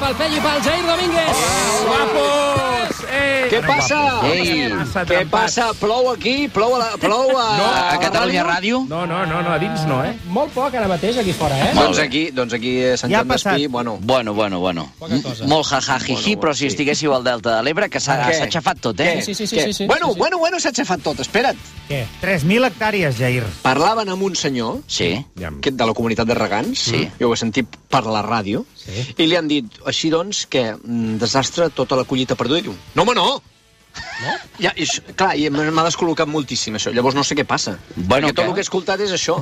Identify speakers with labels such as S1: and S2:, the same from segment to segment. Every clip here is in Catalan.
S1: pel Peyu i pel Jair Domínguez.
S2: Guapos! eh. Ei!
S3: Què passa?
S4: Ei,
S2: Massa
S4: què
S2: atrapat.
S4: passa? Plou aquí? Plou a, la, plou a,
S2: No,
S4: a
S3: Ah,
S2: a la
S4: Catalunya Ràdio?
S2: No, no, no, no, a dins no, eh?
S1: Molt poc ara mateix aquí fora, eh?
S4: Doncs aquí, doncs aquí a Sant
S5: Ja ha
S4: Joan d'Espí,
S5: passat.
S4: bueno...
S3: Bueno, bueno, bueno.
S1: Poca cosa.
S3: Molt jajajiji, però si estiguéssiu al Delta de l'Ebre, que s'ha
S4: Què?
S3: s'ha aixafat tot, eh?
S4: Què?
S1: Sí, sí, sí,
S4: Què?
S1: sí, sí,
S4: bueno,
S1: sí, sí.
S4: bueno, bueno, s'ha aixafat tot, espera't.
S1: Què?
S5: 3.000 hectàrees, Jair.
S4: Parlaven amb un senyor,
S3: Sí.
S4: aquest de la comunitat de Regants,
S3: Sí.
S4: jo ho he sentit per la ràdio,
S1: Sí.
S4: i li han dit, així doncs, que mm, desastre tota la collita perduda. I diu, no, home, no! Ja, i, això- clar, i m'ha m'ha descol·locat moltíssim, això. Llavors no sé què passa.
S3: Bueno,
S4: Perquè tot
S3: que-
S4: el que he escoltat és això.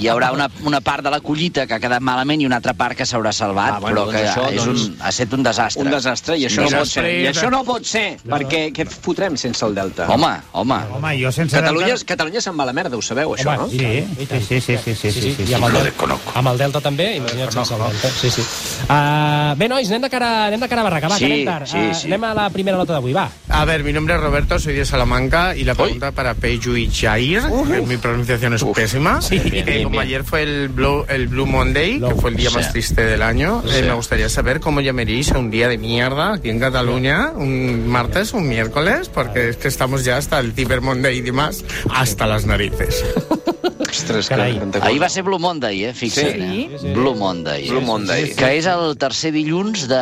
S3: Hi haurà una, una part de la collita que ha quedat malament i una altra part que s'haurà salvat,
S4: Ah, bueno,
S3: però
S4: doncs
S3: que
S4: això,
S3: és un,
S4: doncs,
S3: ha estat un desastre.
S4: Un desastre, i això
S2: Sí,
S4: no, pot ser.
S2: després
S4: I
S2: de-
S4: això no pot ser, perquè què fotrem sense el Delta?
S3: Home, home.
S5: Home, jo sense...
S4: Catalunya,
S5: Delta-
S4: Catalunya se'n va a la merda, ho sabeu, això,
S1: Home,
S4: no?
S5: Sí, sí, sí, sí, sí, sí, sí, sí,
S1: I
S5: sí.
S1: amb el, Delta, amb el Delta també, imagina't sense el Delta. Sí, sí. Uh, bé, nois, anem de cara, anem de cara a Barraca, va,
S3: Sí,
S1: que anem tard.
S3: sí,
S1: Ah,
S3: sí.
S1: Anem a la primera nota d'avui, va.
S6: A ver, mi nombre es Roberto, soy de Salamanca y la pregunta para Peyu y Jair, que mi pronunciación es pésima. Eh,
S3: bien,
S6: como
S3: bien.
S6: ayer fue el Blue, el Blue Monday, que fue el día
S3: Sí.
S6: más triste del año, eh, me gustaría saber cómo llamaríais a un día de mierda aquí en Cataluña, un martes, un miércoles, porque es que estamos ya hasta el Cyber Monday y demás, hasta las narices.
S4: Ostres,
S1: Carai.
S4: tanta cosa.
S3: Ahir va ser Blue Monday, eh? Fixa't,
S7: Sí.
S3: eh? Blue Monday.
S4: Blue Monday.
S3: Que és el tercer dilluns de...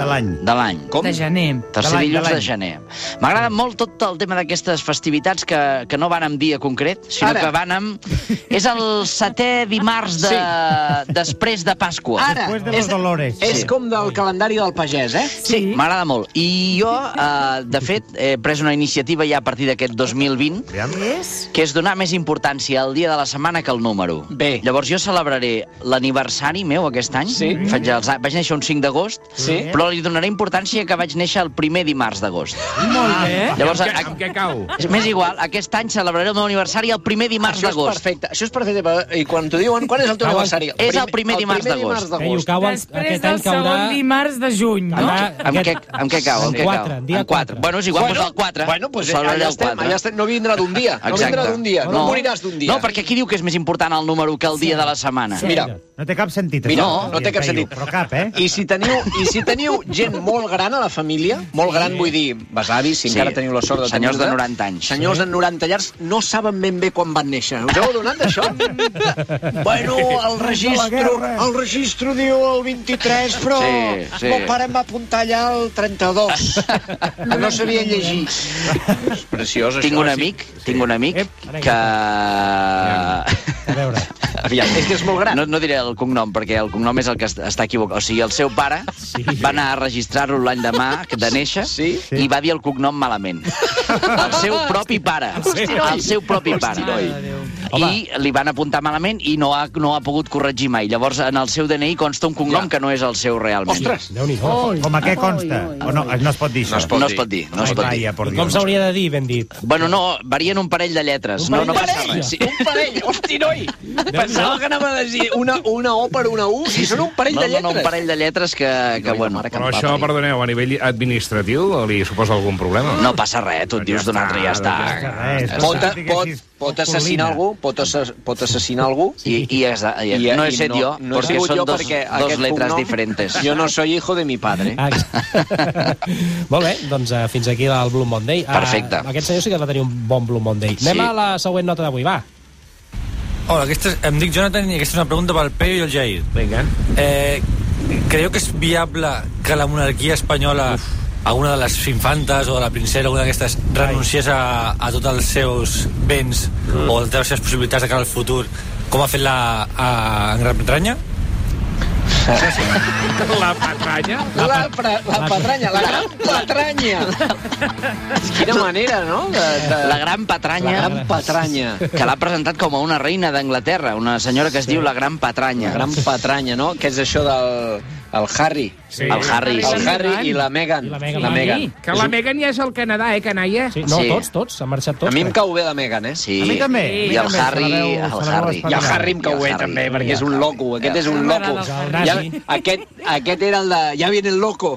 S5: De l'any.
S3: De l'any.
S4: Com?
S7: De gener.
S3: Tercer
S5: De l'any,
S3: dilluns
S5: de
S3: de
S5: l'any.
S3: gener. M'agrada molt tot el tema d'aquestes festivitats que, que no van amb dia concret, sinó
S4: Ara.
S3: que van amb... És el setè dimarts de... després de Pasqua.
S4: Ara,
S5: Després de los
S4: és,
S5: Dolores.
S4: és
S5: Sí.
S4: com del calendari del pagès, eh?
S3: Sí, m'agrada molt. I jo, eh, de fet, he pres una iniciativa ja a partir d'aquest 2020
S7: És?
S3: que és donar més importància al dia de la setmana que al número.
S4: Bé.
S3: Llavors jo celebraré l'aniversari meu aquest any.
S4: Sí.
S3: Faig els, a- vaig néixer un 5 d'agost,
S4: Sí.
S3: però li donaré importància que vaig néixer el primer dimarts d'agost.
S7: Molt
S4: Eh?
S7: bé.
S3: Llavors,
S2: amb,
S3: a-
S2: què, amb què cau?
S3: És- M'és igual, aquest any celebraré el meu aniversari el primer dimarts
S4: Això és
S3: d'agost.
S4: perfecte. Això és perfecte. però- I quan t'ho diuen, quan és el teu
S1: Cauen-
S4: aniversari?
S3: És el primer dimarts
S4: El primer
S1: Ei,
S4: dimarts
S3: d'agost.
S1: Eh, ho
S4: d'agost.
S1: cauen,
S7: Després
S1: aquest
S7: del
S1: any caurà...
S7: segon dimarts de juny, no?
S1: Caurà
S3: Amb què,
S1: aquest-
S3: amb què cau? Amb
S1: en
S3: què cau?
S1: quatre, dia
S3: En quatre.
S1: quatre.
S3: Bueno, és igual, doncs el 4.
S4: Bueno, doncs allà estem, allà estem. No vindrà d'un dia. No vindrà d'un dia. No, moriràs d'un dia.
S3: No, perquè aquí diu que és més important el número que el dia de la setmana.
S1: Sí.
S4: Mira,
S5: No té cap sentit.
S4: Mira,
S5: això,
S4: no té cap
S5: Caio,
S4: sentit.
S5: Però cap, eh?
S4: i si, teniu, I si teniu gent molt gran a la família, molt gran vull dir, besavis, si
S3: Sí.
S4: encara teniu la sort de
S3: Senyors de
S4: tenir-la,
S3: 90 anys.
S4: Senyors de 90 llargs no saben ben bé quan van néixer. Us heu adonat d'això? bueno, el registro, el registro diu el 23, però
S3: Sí, sí.
S4: mon pare em va apuntar allà el 32. no sabia llegir. És preciós,
S3: Tinc un amic, tinc un amic que...
S1: A veure,
S3: eh?
S4: Aviam, és que és molt gran.
S3: No, no diré el cognom, perquè el cognom és el que est- està equivocat. O sigui, el seu pare va anar a registrar-lo l'any demà de néixer
S4: Sí.
S3: i va dir el cognom malament. El seu propi pare. El seu propi pare. I li van apuntar malament i no ha, no ha pogut corregir mai. Llavors, en el seu DNI consta un cognom
S4: Ja.
S3: que no és el seu realment.
S4: Ostres!
S1: Déu-n'hi-do.
S5: Com a què consta? O no, no es pot dir això.
S4: No es pot
S3: No es pot dir, no es
S5: Ai,
S3: pot dir.
S5: Laia, por
S1: Com
S5: Dios.
S1: s'hauria de dir, ben dit?
S3: Bueno, no, varien un parell de lletres.
S1: Un
S3: No,
S1: parell
S3: no
S1: de
S3: passa
S1: lletres?
S3: res. Sí.
S4: Un parell, hosti, noi! Pensava que anava a dir una, una O per una U i són un parell
S3: No,
S4: de
S3: no,
S4: lletres.
S3: no, un parell de lletres que, que bueno...
S2: Però això, perdoneu, a nivell administratiu li suposa algun problema?
S3: No passa res, tu et dius d'un altre i ja està.
S5: res.
S3: Ja
S4: Pot,
S3: està.
S4: pot, pot assassinar algú? Pot, assass pot assassinar algú?
S3: I, i, ja està, i,
S4: I-
S3: no he
S4: i
S3: set
S4: no-
S3: jo,
S4: no he
S3: perquè
S4: sigut
S3: són
S4: jo
S3: dos,
S4: perquè
S3: dos
S4: aquest
S3: letras
S4: cognom-
S3: diferentes.
S4: Jo no soy hijo de mi padre.
S1: Ah, Molt bé, doncs eh, fins aquí el Blue Monday. Eh,
S3: Perfecte.
S1: Aquest senyor sí que va tenir un bon Blue Monday.
S3: Sí.
S1: Anem a la següent nota d'avui, va.
S8: Hola, aquesta és, em dic Jonathan i aquesta és una pregunta pel Peyu i el Jair.
S2: Vinga.
S8: Eh, creieu que és viable que la monarquia espanyola a una de les infantes o de la princera, una d'aquestes, renunciés a, a tots els seus béns o a totes les seves possibilitats de cara al futur, com ha fet la a, en Gran Bretanya?
S2: La patranya?
S4: La, pre- la patranya, la gran patranya! Quina manera, no? De, de...
S3: La gran patranya...
S4: La gran patranya.
S3: que l'ha presentat com a una reina d'Anglaterra, una senyora que es diu la Gran Patranya.
S4: La gran patranya, no? Que és això del el Harry.
S2: Sí.
S3: El Harry.
S7: Sí.
S4: El Harry i la Meghan.
S1: I la Meghan.
S4: La
S1: Sí.
S4: Meghan.
S2: Que la Megan ja és al Canadà, eh, canalla?
S1: Sí, no,
S3: Sí.
S1: tots, tots, s'han marxat tots.
S4: A mi em
S1: crec.
S4: cau bé la Meghan, eh?
S3: Sí.
S5: A mi també.
S7: Sí.
S3: I
S5: a
S3: el
S5: mi també,
S3: Harry,
S5: se la veu-
S3: el
S5: se la
S3: Harry.
S5: veu
S4: I el
S5: espanyola.
S4: Harry em cau
S3: I el
S4: bé,
S3: Harry.
S4: també, perquè és un loco. Aquest és un
S7: M'agrada
S4: loco.
S7: el
S1: Harry.
S4: Ja, aquest, aquest era el de... Ja viene el loco.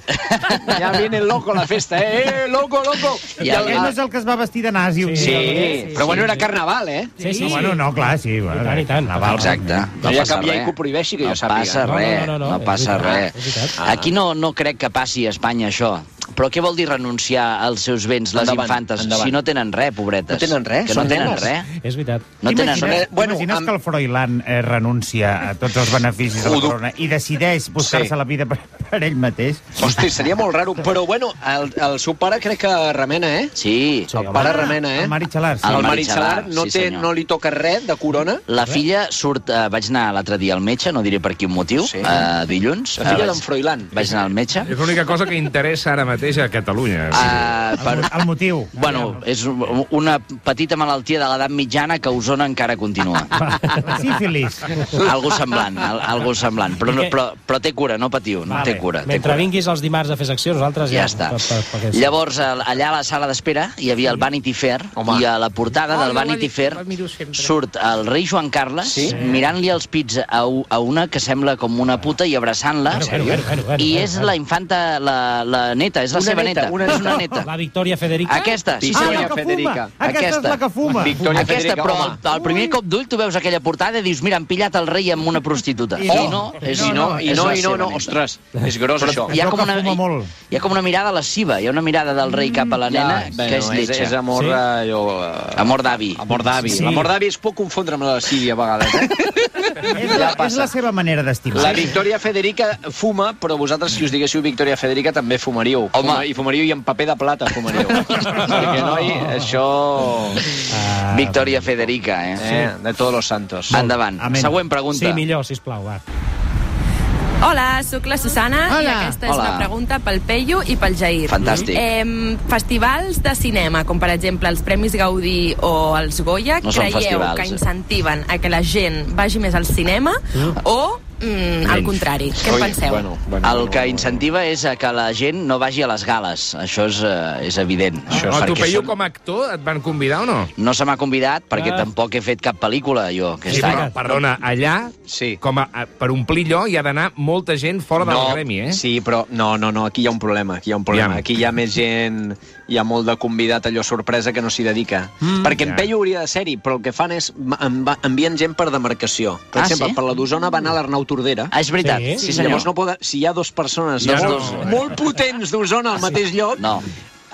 S4: Ja viene el loco a la festa, eh? Eh, loco, loco! I el,
S5: Aquest no és el que es va vestir de nazi un
S4: Sí,
S5: dia.
S4: però bueno, era carnaval, eh?
S1: Sí, sí,
S5: No,
S1: sí.
S5: bueno, no, clar, sí. Bueno,
S1: tant, i tant.
S5: Naval,
S3: Exacte.
S4: No
S3: No
S4: hi ha
S3: passa
S4: cap llei
S3: res.
S4: que ho prohibeixi, que
S3: No
S4: jo sàpiga.
S3: passa
S1: No, no,
S3: res,
S1: no, no,
S3: no
S1: és
S3: passa
S1: veritat.
S3: res. res. Ah. Aquí no, no crec que passi a Espanya això. Però què vol dir renunciar als seus béns, les
S4: Endavant,
S3: infantes,
S4: endavant.
S3: si no tenen res, pobretes?
S4: No tenen res,
S3: Que no
S4: són
S3: tenen
S4: nenes.
S3: res.
S1: És veritat.
S3: No
S4: Imagina't-
S3: tenen res.
S5: T'imagines
S4: Bueno,
S5: bueno,
S4: amb-
S5: que el Froilán eh, renuncia a tots els beneficis de la
S4: Ho dub-
S5: corona i decideix buscar-se
S4: Sí.
S5: la vida per, per ell mateix?
S4: Hosti, seria molt raro. Però, bueno, el, el seu pare crec que remena, eh?
S3: Sí.
S1: Sí,
S4: El
S1: home.
S4: pare remena, eh?
S5: El Mari Xalar, sí.
S4: El
S3: El
S4: Mari
S3: Marichalar,
S4: Xalar no,
S3: sí,
S4: té,
S3: senyor.
S4: no li toca res de corona.
S3: La filla surt... Eh, vaig anar l'altre dia al metge, no diré per quin motiu,
S4: Sí.
S3: sí. eh, dilluns.
S4: La filla
S3: Eh,
S4: d'en Froilán.
S3: Vaig anar al metge.
S2: És l'única cosa que interessa ara mateix a Catalunya.
S3: Eh, per,
S5: El, el motiu.
S3: bueno, és un- una petita malaltia de l'edat mitjana que a Osona encara continua.
S5: Sí, Feliç.
S3: Algo semblant, al, algo semblant. Però, no, però, però té cura, no patiu, no
S5: Vale.
S3: té cura. Té
S1: Mentre
S3: cura.
S1: vinguis els dimarts a fer secció, nosaltres ja...
S3: Ja està. Llavors, al- allà a la sala d'espera hi havia el Vanity Fair
S4: Home.
S3: i a la portada
S7: Oh,
S3: del
S7: jo
S3: Vanity
S7: la-
S3: Fair
S7: la miro sempre.
S3: surt el rei Joan Carles
S4: Sí?
S3: mirant-li els pits a, u- a una que sembla com una puta i abraçant-la.
S1: Bueno, bueno, bueno, bueno, bueno,
S3: I
S1: bueno,
S3: és
S1: bueno.
S3: la infanta, la, la neta, és la
S4: Una
S3: seva
S4: neta,
S3: neta.
S4: una
S3: És una
S4: neta.
S3: neta.
S1: La Victòria Federica...
S3: Aquesta, sí,
S5: Ah,
S3: senyor.
S5: la
S4: Victòria
S5: que fuma!
S4: Federica.
S5: Aquesta, Aquesta és
S3: Aquesta.
S5: la que fuma!
S4: Victòria
S3: Aquesta,
S4: Federica,
S3: però
S4: home.
S3: el, el primer
S5: Ui.
S3: cop d'ull tu veus aquella portada i dius, mira, han pillat el rei amb una prostituta.
S5: I
S3: I
S5: no.
S3: no, és,
S4: I no, i
S3: és
S4: no,
S3: la
S4: i no,
S3: seva
S4: no.
S3: neta.
S4: Ostres, és gros, això.
S3: Hi ha,
S5: Veu
S3: com
S5: que
S3: una,
S5: fuma molt.
S3: hi ha com una mirada lasciva, hi ha una mirada del rei cap a la nena
S4: Mm, Ja,
S3: que és
S4: és,
S3: lletja.
S4: és amor,
S1: Sí.
S4: sí. allò... eh,
S3: Amor d'avi.
S4: Amor d'avi.
S1: Sí.
S4: Sí. L'amor d'avi es pot confondre amb la Síria, a vegades. Eh?
S5: És la, és la seva manera d'estimar.
S4: La Victòria Federica fuma, però vosaltres, si us diguéssiu Victòria Federica, també fumaríeu. Fuma, I fumaríeu i en paper de plata fumaríeu. Perquè, noi, això...
S5: Ah,
S3: Victòria Federica, eh?
S4: Eh, de todos los santos.
S3: Endavant.
S5: Amén.
S3: Següent pregunta.
S1: Sí, millor, sisplau, va.
S9: Hola, sóc la Susana i
S5: Hola.
S9: aquesta és
S3: Hola.
S9: una pregunta pel Peyu i pel Jair.
S3: Fantàstic.
S9: Eh, festivals de cinema, com per exemple els Premis Gaudí o els Goya,
S3: No són
S9: creieu
S3: festivals,
S9: que
S3: eh?
S9: incentiven a que la gent vagi més al cinema o mm, al
S3: Menys.
S9: contrari? Què en penseu?
S4: Bueno, bueno,
S3: El que incentiva és a que la gent no vagi a les gales. Això és, eh, és evident.
S2: No, a tu,
S3: Perquè
S2: Peyu,
S3: són-
S2: com a actor, et van convidar o no?
S3: No se m'ha convidat perquè
S1: Ah.
S3: tampoc he fet cap pel·lícula, jo, aquest
S1: Sí,
S3: any.
S1: veritat.
S2: Perdona, allà,
S4: Sí.
S2: com a, a, per omplir allò, hi ha d'anar molta gent fora del
S4: No,
S2: gremi, eh?
S4: sí, però no, no, no, aquí hi ha un problema, aquí hi ha un problema.
S2: Aviam.
S4: Aquí hi ha més gent, hi ha molt de convidat allò sorpresa que no s'hi dedica. Mm, Perquè en
S2: Ja.
S4: Peyu hauria de ser-hi, però el que fan és ma- enva- envien gent per demarcació. Per
S3: Ah,
S4: exemple,
S3: sí?
S4: per la d'Osona va anar l'Arnau Tordera.
S3: Ah, és veritat.
S1: Sí?
S3: Sí,
S4: Sí,
S3: senyor.
S4: Llavors no poden... Si hi ha dues persones Ah,
S2: Hi ha
S4: molt,
S2: dos.
S4: molt potents d'Osona al mateix lloc,
S3: No.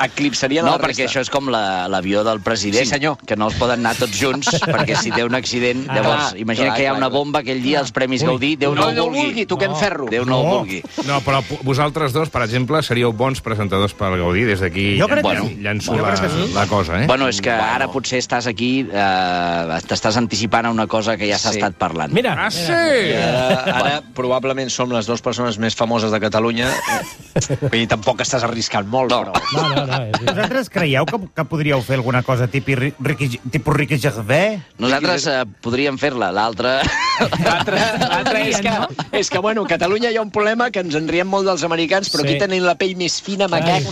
S4: eclipsarien
S3: No,
S4: la
S3: perquè
S4: resta.
S3: això és com la- l'avió la, del president,
S4: Sí, senyor. Ah,
S3: que no els poden anar tots junts, perquè si té un accident, llavors,
S4: clar,
S3: imagina
S4: clar,
S3: que hi ha
S4: clar,
S3: una
S4: clar.
S3: bomba aquell dia als Premis Gaudí, Déu
S4: No,
S3: no,
S4: no
S3: ho
S4: vulgui,
S3: vulgui.
S4: toquem
S1: No.
S4: ferro.
S3: Déu no ho
S5: No.
S3: vulgui.
S2: No, però po- vosaltres dos, per exemple, seríeu bons presentadors per Gaudí, des d'aquí
S5: Jo crec que
S2: llan-
S5: sí.
S2: llanço
S5: Jo
S2: la,
S5: crec que sí.
S2: la cosa, eh?
S3: Bueno, és que ara potser estàs aquí, eh, t'estàs anticipant a una cosa que ja s'ha
S4: Sí.
S3: estat parlant.
S1: Mira,
S2: Ah, sí!
S4: I Ara, ara probablement som les dues persones més famoses de Catalunya. eh. Vull dir, tampoc estàs arriscant molt, no. però...
S1: no, no, no, és veritat.
S5: Vosaltres creieu que, que podríeu fer alguna cosa tipi, Ricky, tipus Ricky Gervais?
S3: Nosaltres eh, podríem fer-la, l'altra...
S4: L'altre l'altre és, que, és que, bueno, a Catalunya hi ha un problema que ens en riem molt dels americans, però
S1: Sí.
S4: sí. aquí tenen la pell més fina, macac.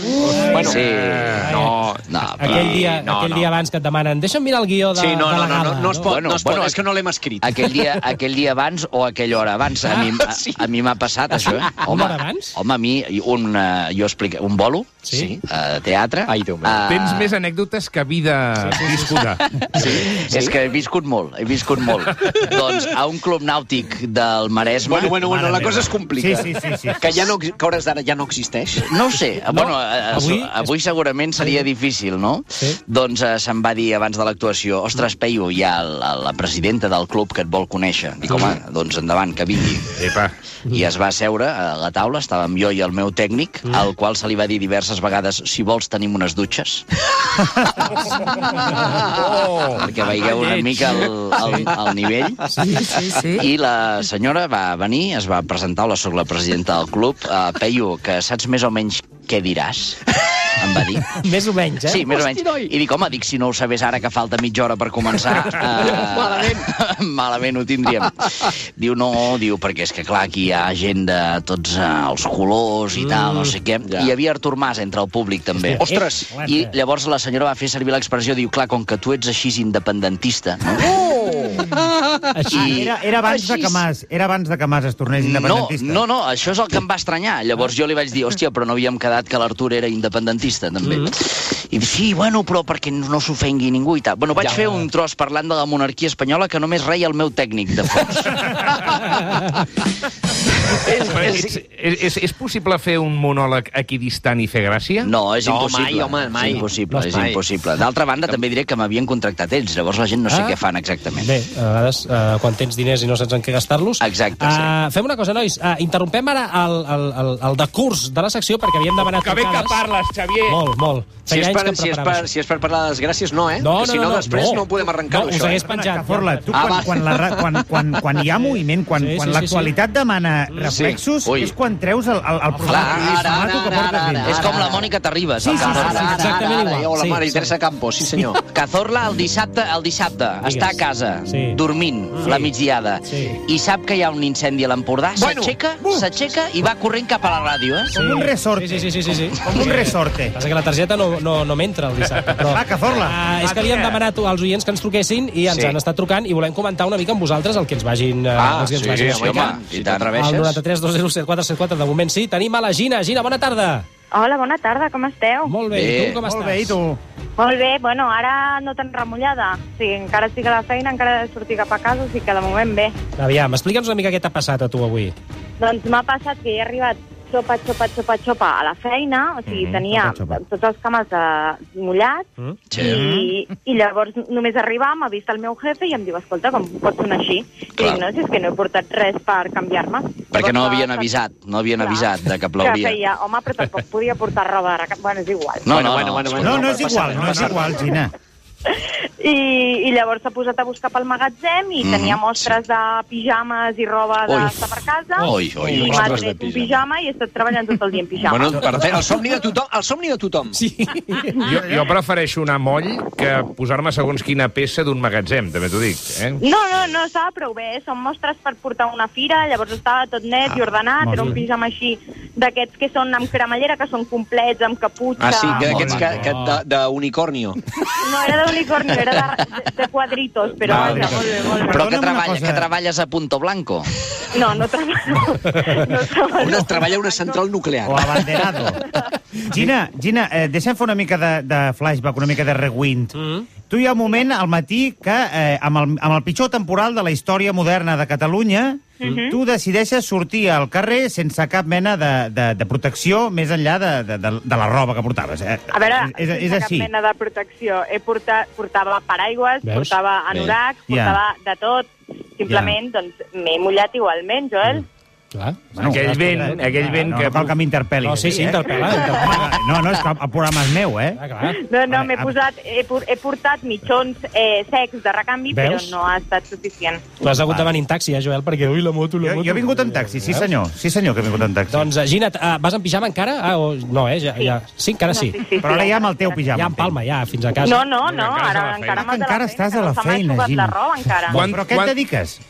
S4: Bueno,
S3: Sí.
S6: Eh,
S4: no,
S3: No, però...
S1: Aquell dia,
S4: no,
S1: aquell
S4: no.
S1: dia abans que et demanen deixa'm mirar el guió de,
S4: Sí, no,
S1: de la
S4: no, no,
S1: gala.
S4: no, no es pot,
S3: Bueno,
S4: no es pot,
S3: bueno,
S4: és que no l'hem escrit.
S3: Aquell dia, aquell dia abans o aquella hora abans. A mi, a, a mi m'ha passat això. eh?
S1: Una hora abans?
S3: Home, a mi, un, uh, jo explica, un bolo,
S1: Sí.
S3: a teatre.
S4: Ai, Déu meu.
S3: eh,
S2: Tens més anècdotes que vida viscuda.
S3: Sí. És que he viscut molt, he viscut molt. doncs a un club nàutic del Maresme...
S4: Bueno, bueno, bueno,
S5: Mare
S4: la
S5: meva.
S4: cosa es complica.
S5: Sí, sí, sí, sí.
S4: Que ja no, que a hores d'ara ja no existeix.
S3: No ho sé, no, bueno, eh,
S1: avui-
S3: avui, avui segurament seria difícil, no?
S1: Sí.
S3: Doncs eh, se'm va dir abans de l'actuació, ostres, Peyu, hi ha la, la presidenta del club que et vol conèixer. Dic, home, doncs endavant, que vingui.
S2: Epa.
S3: I es va asseure a la taula, estàvem jo i el meu tècnic, mm. al qual se li va dir diverses vegades, si vols tenim unes dutxes,
S2: Oh!
S3: perquè veieu una
S2: Lleig.
S3: mica el, el, el nivell.
S7: Sí, sí, sí.
S3: I la senyora va venir, es va presentar, hola, sóc la presidenta del club, uh, Peyu, que saps més o menys què diràs? Em va dir.
S1: Més o menys, eh?
S3: Sí, més o menys. I dic, home, dic, si no ho sabés ara que falta mitja hora per començar... Eh, malament. malament ho tindríem. Diu, no, diu, perquè és que clar, aquí hi ha gent de tots eh, els colors i tal,
S5: Mm,
S3: no sé què. I hi havia Artur Mas entre el públic, també.
S4: Ostres!
S3: I llavors la senyora va fer servir l'expressió, diu, clar, com que tu ets així independentista, no?
S5: Oh! Ah, Era, era abans de que Mas, era abans de que Mas es tornés
S3: No,
S5: independentista.
S3: no, no, això és el que em va estranyar. Llavors jo li vaig dir, hòstia, però no havíem quedat que l'Artur era independentista, també. Mm -hmm. I diu, sí, bueno, però perquè no s'ofengui ningú i tal. Bueno, vaig ja, fer un tros parlant de la monarquia espanyola que només reia el meu tècnic de fons.
S2: és, és, és, és possible fer un monòleg equidistant i fer gràcia?
S3: No, és
S4: No,
S3: impossible.
S4: mai, home, mai.
S3: És impossible,
S4: No,
S3: és
S4: mai.
S3: impossible. D'altra banda, també diré que m'havien contractat ells, llavors la gent no sé
S1: Ah.
S3: què fan exactament.
S1: Bé, a vegades, eh, quan tens diners i no saps en què gastar-los...
S3: Exacte, sí.
S1: Eh, fem una cosa, nois. Eh, interrompem ara el, el, el, el decurs de la secció perquè havíem demanat...
S2: Que bé que
S1: trucades.
S2: parles, Xavier!
S1: Molt, molt.
S4: Si és,
S1: Feia anys
S4: per,
S1: que em
S4: si, és
S1: preparava
S4: per,
S1: això.
S4: si és per parlar de desgràcies, no, eh? que si no, després no, podem arrencar-ho,
S1: no,
S4: això.
S1: Us hagués
S4: Eh?
S1: penjat.
S5: Caforla, tu
S3: Ah,
S5: quan,
S3: va.
S5: quan, la, ra- quan, quan, quan hi ha moviment, quan,
S1: Sí, sí,
S5: quan
S1: sí,
S5: l'actualitat demana reflexos,
S3: Ui.
S5: és quan treus el, el, el
S3: Clar,
S5: programa
S3: ara, ara,
S5: que
S3: ara,
S5: portes
S3: ara,
S5: dins.
S3: ara. És com la Mònica Terribas, al
S4: Ara,
S3: Cazorla.
S4: ara, ara,
S1: exactament
S4: ara,
S1: igual.
S4: eh? Hola,
S1: Sí,
S4: mare,
S1: sí.
S4: Teresa Campos, sí senyor.
S3: Cazorla el dissabte, el dissabte està a casa,
S1: Sí.
S3: dormint,
S1: Sí.
S3: la migdiada,
S1: Sí.
S3: i sap que hi ha un incendi a l'Empordà,
S4: Bueno.
S3: s'aixeca, s'aixeca i va corrent cap a la ràdio, eh?
S5: Com un resorte.
S1: Ah. Sí, sí, sí, sí, sí.
S5: Com un resorte.
S1: Passa que la targeta no, no, no m'entra el dissabte. Però...
S5: Va, Cazorla.
S1: Ah, és
S5: Va,
S1: que li hem
S5: tira.
S1: demanat als oients que ens truquessin i ens
S4: Sí.
S1: han estat trucant i volem comentar una mica amb vosaltres el que ens vagin... eh,
S4: Ah,
S1: els que ens
S4: sí,
S1: vagin
S4: home,
S1: explicant.
S4: tant,
S3: i
S4: i
S3: tant.
S4: tant.
S1: El 93 207474, de moment sí. Tenim a la Gina. Gina, bona tarda.
S10: Hola, bona tarda, com esteu?
S1: Molt bé,
S3: Bé.
S1: i tu com
S5: Molt
S1: estàs?
S5: bé, i tu?
S10: Molt bé, bueno, ara no tan remullada. O sigui, encara estic a la feina, encara he de sortir cap a casa, o sigui que de moment bé.
S1: Aviam, explica'ns una mica què t'ha passat a tu avui.
S10: Doncs m'ha passat que he arribat xopa, xopa, xopa, xopa a la feina, o sigui, mm, tenia
S5: xopa, xopa.
S10: tots els camels de... mullats,
S1: Mm?
S10: i, i llavors només arribar m'ha vist el meu jefe i em diu, escolta, com pot sonar així? I
S3: Clar.
S10: dic, no, si és que no he portat res per canviar-me.
S3: Perquè no
S10: Llavors,
S3: havien
S10: clar,
S3: avisat, no havien
S10: clar,
S3: avisat de que
S10: Que
S3: plouria.
S10: feia, home, però tampoc podia portar roba de... reca- Bueno, és igual.
S3: No, no,
S4: Bueno,
S3: no.
S4: bueno, bueno,
S5: No,
S4: bueno.
S5: no és igual, no és igual, Gina.
S10: I, i llavors s'ha posat a buscar pel magatzem i
S3: Mhm,
S10: tenia mostres de pijames i roba
S3: Ui.
S10: d'estar per casa.
S3: Ui, ui, ui.
S10: I m'ha
S4: Mostres de
S10: tret un
S4: pijama.
S10: pijama i he estat treballant tot el dia en pijama.
S4: Bueno, per fer el somni de tothom, el somni de tothom.
S1: Sí.
S3: Ah,
S2: Jo,
S3: eh.
S2: jo prefereixo anar moll que posar-me segons quina peça d'un magatzem, també t'ho dic. Eh?
S10: No, no, no estava prou bé, són mostres per portar a una fira, llavors estava tot net i ordenat,
S1: molt
S10: era un
S1: bé.
S10: pijama així d'aquests que són amb cremallera, que són complets, amb caputxa...
S4: Ah, sí, que d'aquests que,
S1: maco.
S4: que de- d'unicornio.
S10: No, era d'unicornio, era de, de, de quadritos, però
S4: Vale.
S10: vaja, molt bé, molt
S3: Però que,
S10: bé.
S5: Perdona'm una
S3: treballa,
S5: cosa.
S3: que treballes a Punto Blanco.
S10: No, no treballo. No treballo.
S4: On es treballa una central nuclear.
S5: O abanderado. Gina, Gina, eh, deixa'm fer una mica de, de flashback, una mica de rewind. Mm. Tu hi ha un moment al matí que, eh, amb, el, amb el pitjor temporal de la història moderna de Catalunya,
S1: Mhm.
S5: mm. tu decideixes sortir al carrer sense cap mena de, de, de protecció més enllà de, de, de, de la roba que portaves. Eh?
S10: A veure,
S5: és, és, és
S10: sense
S5: així.
S10: cap mena de protecció. He portat, portava paraigües,
S1: Veus?
S10: Veus? portava anoracs,
S5: Ja.
S10: portava de tot. Simplement, doncs, m'he mullat igualment, Joel.
S1: Clar.
S2: Aquell vent, aquell vent
S5: eh, no,
S2: que-
S5: No cal que m'interpel·li. eh?
S1: No, sí, sí, interpel·la, interpel·la.
S5: No, no, és que el programa és meu, eh?
S1: Ah, clar.
S10: No, no,
S5: Vale,
S10: m'he
S5: a-
S10: posat... He, por- he portat mitjons eh, secs de recanvi,
S1: Veus?
S10: però no ha estat suficient.
S1: Tu has hagut de venir en taxi, eh, Joel, perquè... Ui, la moto, la
S5: Jo,
S1: moto... Eh,
S5: jo he vingut en taxi, sí senyor, sí senyor que he vingut en taxi.
S1: Doncs, eh, Gina, eh, vas en pijama encara? Ah, o... No, eh? Ja,
S10: Sí.
S1: ja... sí encara sí.
S5: Però ara ja amb el teu pijama.
S1: Ja en Palma, ja, fins a casa.
S10: No, no, no,
S2: Encara estàs a la
S5: Encara estàs a la
S10: ara encara m'has de la feina, no se
S2: feina.
S10: m'ha
S5: feina,
S10: jugat
S5: Gina.
S10: la roba, encara.
S2: Quan-
S5: Però a què
S2: quan-
S5: et dediques?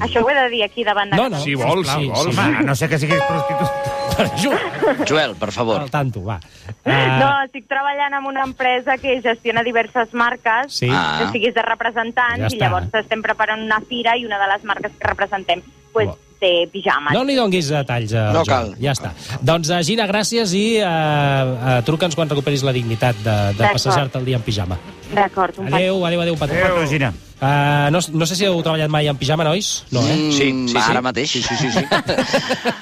S10: Això ho he de dir aquí davant de...
S1: No, no.
S2: Si vols,
S1: sisplau,
S2: si vols.
S5: Home, a no sé que siguis prostitut.
S1: Joel,
S3: Joel, per favor.
S1: al tanto, va.
S5: Ah.
S10: No,
S1: Eh,
S10: estic treballant en una empresa que gestiona diverses marques,
S1: Sí.
S3: Ah.
S10: o sigui, és de representants,
S1: Ja
S10: i
S1: està.
S10: llavors estem preparant una fira i una de les marques que representem pues,
S1: Bo.
S10: té pijames.
S1: No li donguis detalls al
S4: No
S1: Joel.
S4: cal.
S1: Ja està. Doncs, eh, Gina, gràcies i eh, eh, truca'ns quan recuperis la dignitat de, de
S10: D'acord.
S1: passejar-te el dia en pijama.
S10: D'acord, un
S1: Adéu, adéu, adéu, petó.
S5: Però, Gina,
S1: Eh, no, no sé si heu treballat mai en pijama, nois? No, eh?
S3: Mm,
S4: Sí, sí, sí.
S3: Ara mateix? Sí, sí, sí. sí.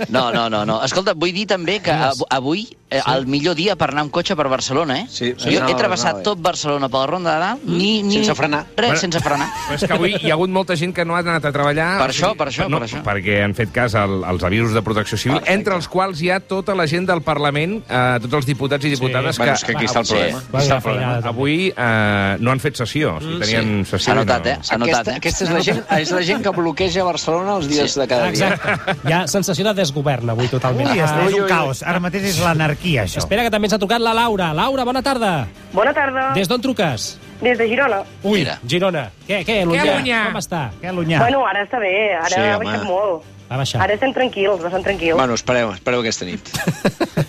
S3: no, no, no, no. Escolta, vull dir també que av- avui eh, el millor dia per anar amb cotxe per Barcelona, eh?
S4: Sí,
S3: jo he
S4: no,
S3: travessat
S4: no, eh.
S3: tot Barcelona per la Ronda de Dalt, ni, ni...
S4: Mm. Sense frenar.
S3: Res,
S2: Bueno.
S3: sense frenar.
S2: Però és que avui hi ha hagut molta gent que no ha anat a treballar...
S3: Per
S2: o sigui,
S3: això, per això,
S2: no,
S3: per això.
S2: Perquè han fet cas al, als avisos de protecció civil,
S3: Perfecte.
S2: entre els quals hi ha tota la gent del Parlament, eh, tots els diputats i diputades
S4: Bueno, és que aquí està el
S3: Sí.
S4: problema.
S1: Va,
S2: Està el
S1: la feinada,
S2: problema.
S1: també.
S2: Avui eh, no han fet sessió. O sigui, tenien
S3: Mm, Sí.
S2: sessió
S3: S'ha notat,
S2: i
S3: eh?
S2: no.
S3: S'ha notat,
S4: aquesta,
S3: eh?
S4: aquesta és la, gent, és la gent que bloqueja Barcelona els dies
S3: Sí.
S4: de cada dia.
S1: Exacte. Hi ha sensació de desgovern avui
S5: ui,
S1: totalment.
S5: és,
S1: Ah,
S5: és
S4: ui,
S5: un
S4: ui.
S5: caos. Ara mateix és l'anarquia, això.
S1: espera, que també ens ha trucat la Laura. Laura, bona tarda.
S10: Bona tarda,
S1: Des d'on truques?
S10: des de Girona.
S1: Ui,
S3: Mira.
S1: Girona. Què, què, Lunyà?
S7: Lunyà?
S1: Com està?
S5: Què, Lunyà?
S10: Bueno, ara està bé, ara
S4: Sí,
S10: ha
S4: home.
S10: baixat molt.
S1: Va baixar.
S10: Ara estem tranquils, bastant tranquils.
S4: Bueno, espereu, espereu aquesta nit.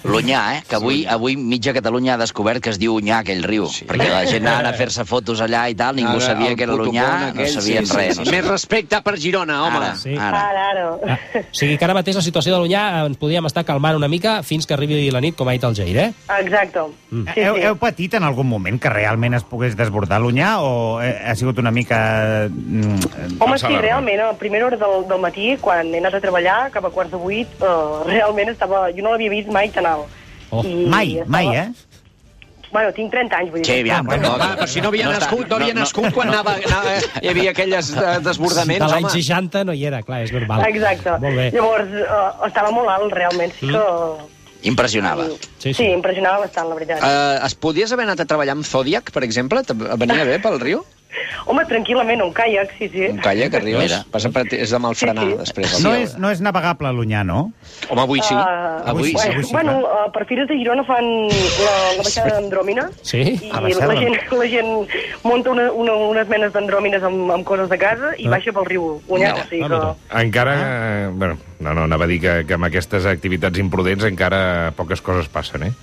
S3: L'Unyà, eh? Que avui, avui mitja Catalunya ha descobert que es diu Unyà, aquell riu. Sí. Perquè la gent anava a fer-se fotos allà i tal, ningú
S4: Ara,
S3: ara, sabia
S4: el
S3: que era l'Unyà,
S4: protocol
S3: no
S4: aquell,
S3: sabien
S4: sí, sí,
S3: res.
S4: sí.
S3: No sabien...
S4: Més respecte per Girona, home.
S3: Ara,
S1: Sí.
S3: ara.
S10: Ara, ara.
S1: Ah, o sigui que ara mateix la situació de l'Unyà eh, ens podríem estar calmant una mica fins que arribi la nit, com ha dit el Jair, eh?
S5: Ah.
S10: Exacte.
S5: Sí, Mm. heu, heu patit en algun moment que realment es pogués desbordar l'Unyà o eh, ha sigut una mica... mm,
S10: Home,
S2: Passa
S10: sí,
S2: l'arma.
S10: realment, a la primera hora del, del matí, quan he
S11: començat
S10: anat
S11: a treballar cap a quarts de vuit, eh, realment estava... Jo no l'havia vist mai tan alt.
S5: Oh. Mai, mai, eh?
S11: Bueno, tinc 30 anys, vull dir.
S3: Sí, aviam,
S11: bueno,
S3: tampoc.
S11: va,
S4: Però si no havia
S3: No
S4: no
S3: està-
S4: nascut, no havia
S3: no- no-
S4: nascut quan
S3: no.
S4: anava, anava... Hi havia aquelles eh, desbordaments,
S1: De l'any
S4: home.
S1: 60 no hi era, clar, és normal.
S11: Exacte.
S1: Molt bé.
S11: Llavors, eh, estava molt alt, realment. Sí que...
S3: Impressionava.
S11: Sí, sí. sí, impressionava bastant, la veritat.
S4: Eh, es podies haver anat a treballar amb Zodiac, per exemple? Te- Venia bé pel riu?
S11: Home, tranquil·lament, un caiac, sí, sí.
S4: Un calla que arribes.
S3: Mira.
S4: Passa per, és de mal frenar,
S11: Sí, sí.
S4: després.
S5: No és, no és navegable a l'Unyà, no?
S4: Home, avui sí.
S11: Ah,
S4: avui, sí,
S11: bueno,
S4: avui sí.
S11: bueno, eh, per Fires de Girona fan la, la baixada d'Andròmina
S1: Sí?
S11: i
S5: Ah,
S11: la,
S5: baixada
S11: gent, la gent munta una, una, unes menes d'andròmines amb, amb coses de casa
S1: Ah.
S11: i baixa pel riu Unyà, o sigui que...
S2: Encara... Ah. Bueno, no, no, anava a dir que, que amb aquestes activitats imprudents encara poques coses passen, eh?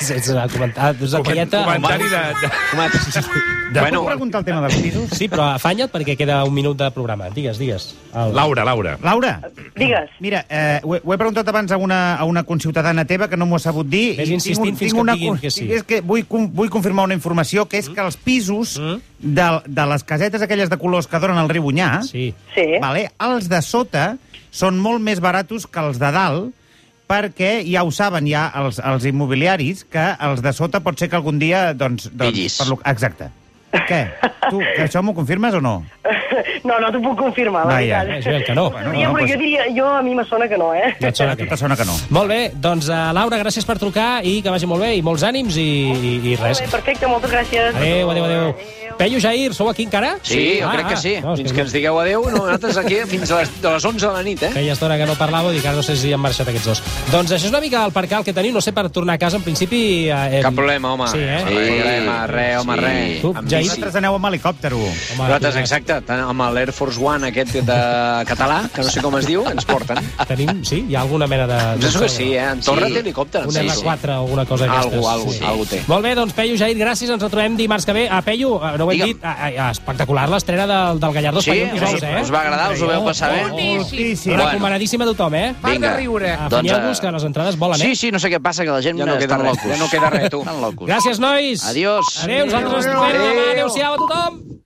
S1: Sense comentar. Doncs la caieta...
S2: Comentari de... de...
S5: De bueno, puc preguntar el tema dels pisos?
S1: Sí, però afanya't perquè queda un minut de programa. Digues, digues. Au.
S2: Laura, Laura.
S5: Laura,
S11: Digues.
S5: mira, eh, ho, he, ho he preguntat abans a una, a una conciutadana teva que no m'ho ha sabut dir.
S1: Ves
S5: i
S1: insistint
S5: tinc un-
S1: fins que
S5: tinc
S1: et
S5: una
S1: diguin
S5: con-
S1: que sí. Mm.
S5: És que vull, com- vull confirmar una informació, que és que els pisos de, de les casetes aquelles de colors que donen al riu Unyà,
S1: Sí.
S11: Sí.
S5: vale, els de sota són molt més baratos que els de dalt, perquè ja ho saben ja els, els immobiliaris, que els de sota pot ser que algun dia... Doncs, doncs,
S3: Pillis.
S5: lo- exacte. Què? Tu, que això m'ho confirmes o no?
S11: No, no t'ho puc confirmar, la
S5: Vaja,
S11: veritat.
S1: és bé, que no.
S11: Bueno,
S5: Bueno, no,
S11: però
S5: pues-
S11: jo diria, jo a mi me sona que no, eh?
S1: No et sona que
S5: Te
S1: no.
S5: sona que no.
S1: Molt bé, doncs uh, Laura, gràcies per trucar i que vagi molt bé i molts ànims i, i, i res.
S11: Molt bé, perfecte, moltes gràcies.
S1: Adéu, adéu, adéu.
S11: Adéu.
S1: Peyu, Jair, sou aquí encara?
S4: Sí, jo
S1: Ah,
S4: crec que
S1: ah,
S4: sí.
S1: no, és
S4: Fins que ens digueu adéu, no, nosaltres aquí fins a les, de les 11 de la nit, eh?
S1: Feia estona que no parlàveu i que ara no sé si han marxat aquests dos. Doncs això és una mica el percal que teniu, no sé, per tornar a casa, en principi... Eh,
S4: Cap problema, home.
S1: Sí, eh?
S4: Cap problema, re, home,
S3: Sí.
S4: re.
S1: Tu,
S4: Amb
S1: Jair?
S4: bici.
S5: Vosaltres aneu amb helicòptero.
S1: Home,
S4: Nosaltres,
S1: tu,
S4: exacte, tant amb l'Air Force One aquest de català, que no sé com es diu, ens porten.
S1: Tenim, sí? Hi ha alguna mena de...
S4: Em penso que sí, eh? En Torra té helicòpter. em
S1: Un
S4: sembla.
S1: R4 o alguna cosa d'aquestes.
S4: Algo, algo, algo té.
S1: Molt bé, doncs, Peyu, Jair, gràcies. Ens retrobem dimarts que ve. A Peyu, eh, no ho hem
S3: Digue'm.
S1: dit, a, a, espectacular l'estrena del, del Gallardo
S3: Sí,
S1: Espanyol dijous,
S3: us-
S1: eh?
S3: us va agradar, us ho veu passar bé?
S5: Moltíssim.
S1: Bueno. Recomanadíssim a tothom, eh?
S3: Vinga.
S4: Doncs,
S1: Afanyeu-vos, que les entrades volen,
S3: Doncs, eh, Sí,
S1: eh?
S3: sí, no sé què passa, que la gent
S4: Ja no queda
S3: estan
S4: res,
S3: locos.
S4: ja no queda res, tu.
S3: Estan locos.
S1: Gràcies, nois.
S3: Adiós.
S1: Adéu, nosaltres ens
S5: Adéu.
S1: veiem demà.
S4: Adéu.
S1: Adéu-siau a tothom.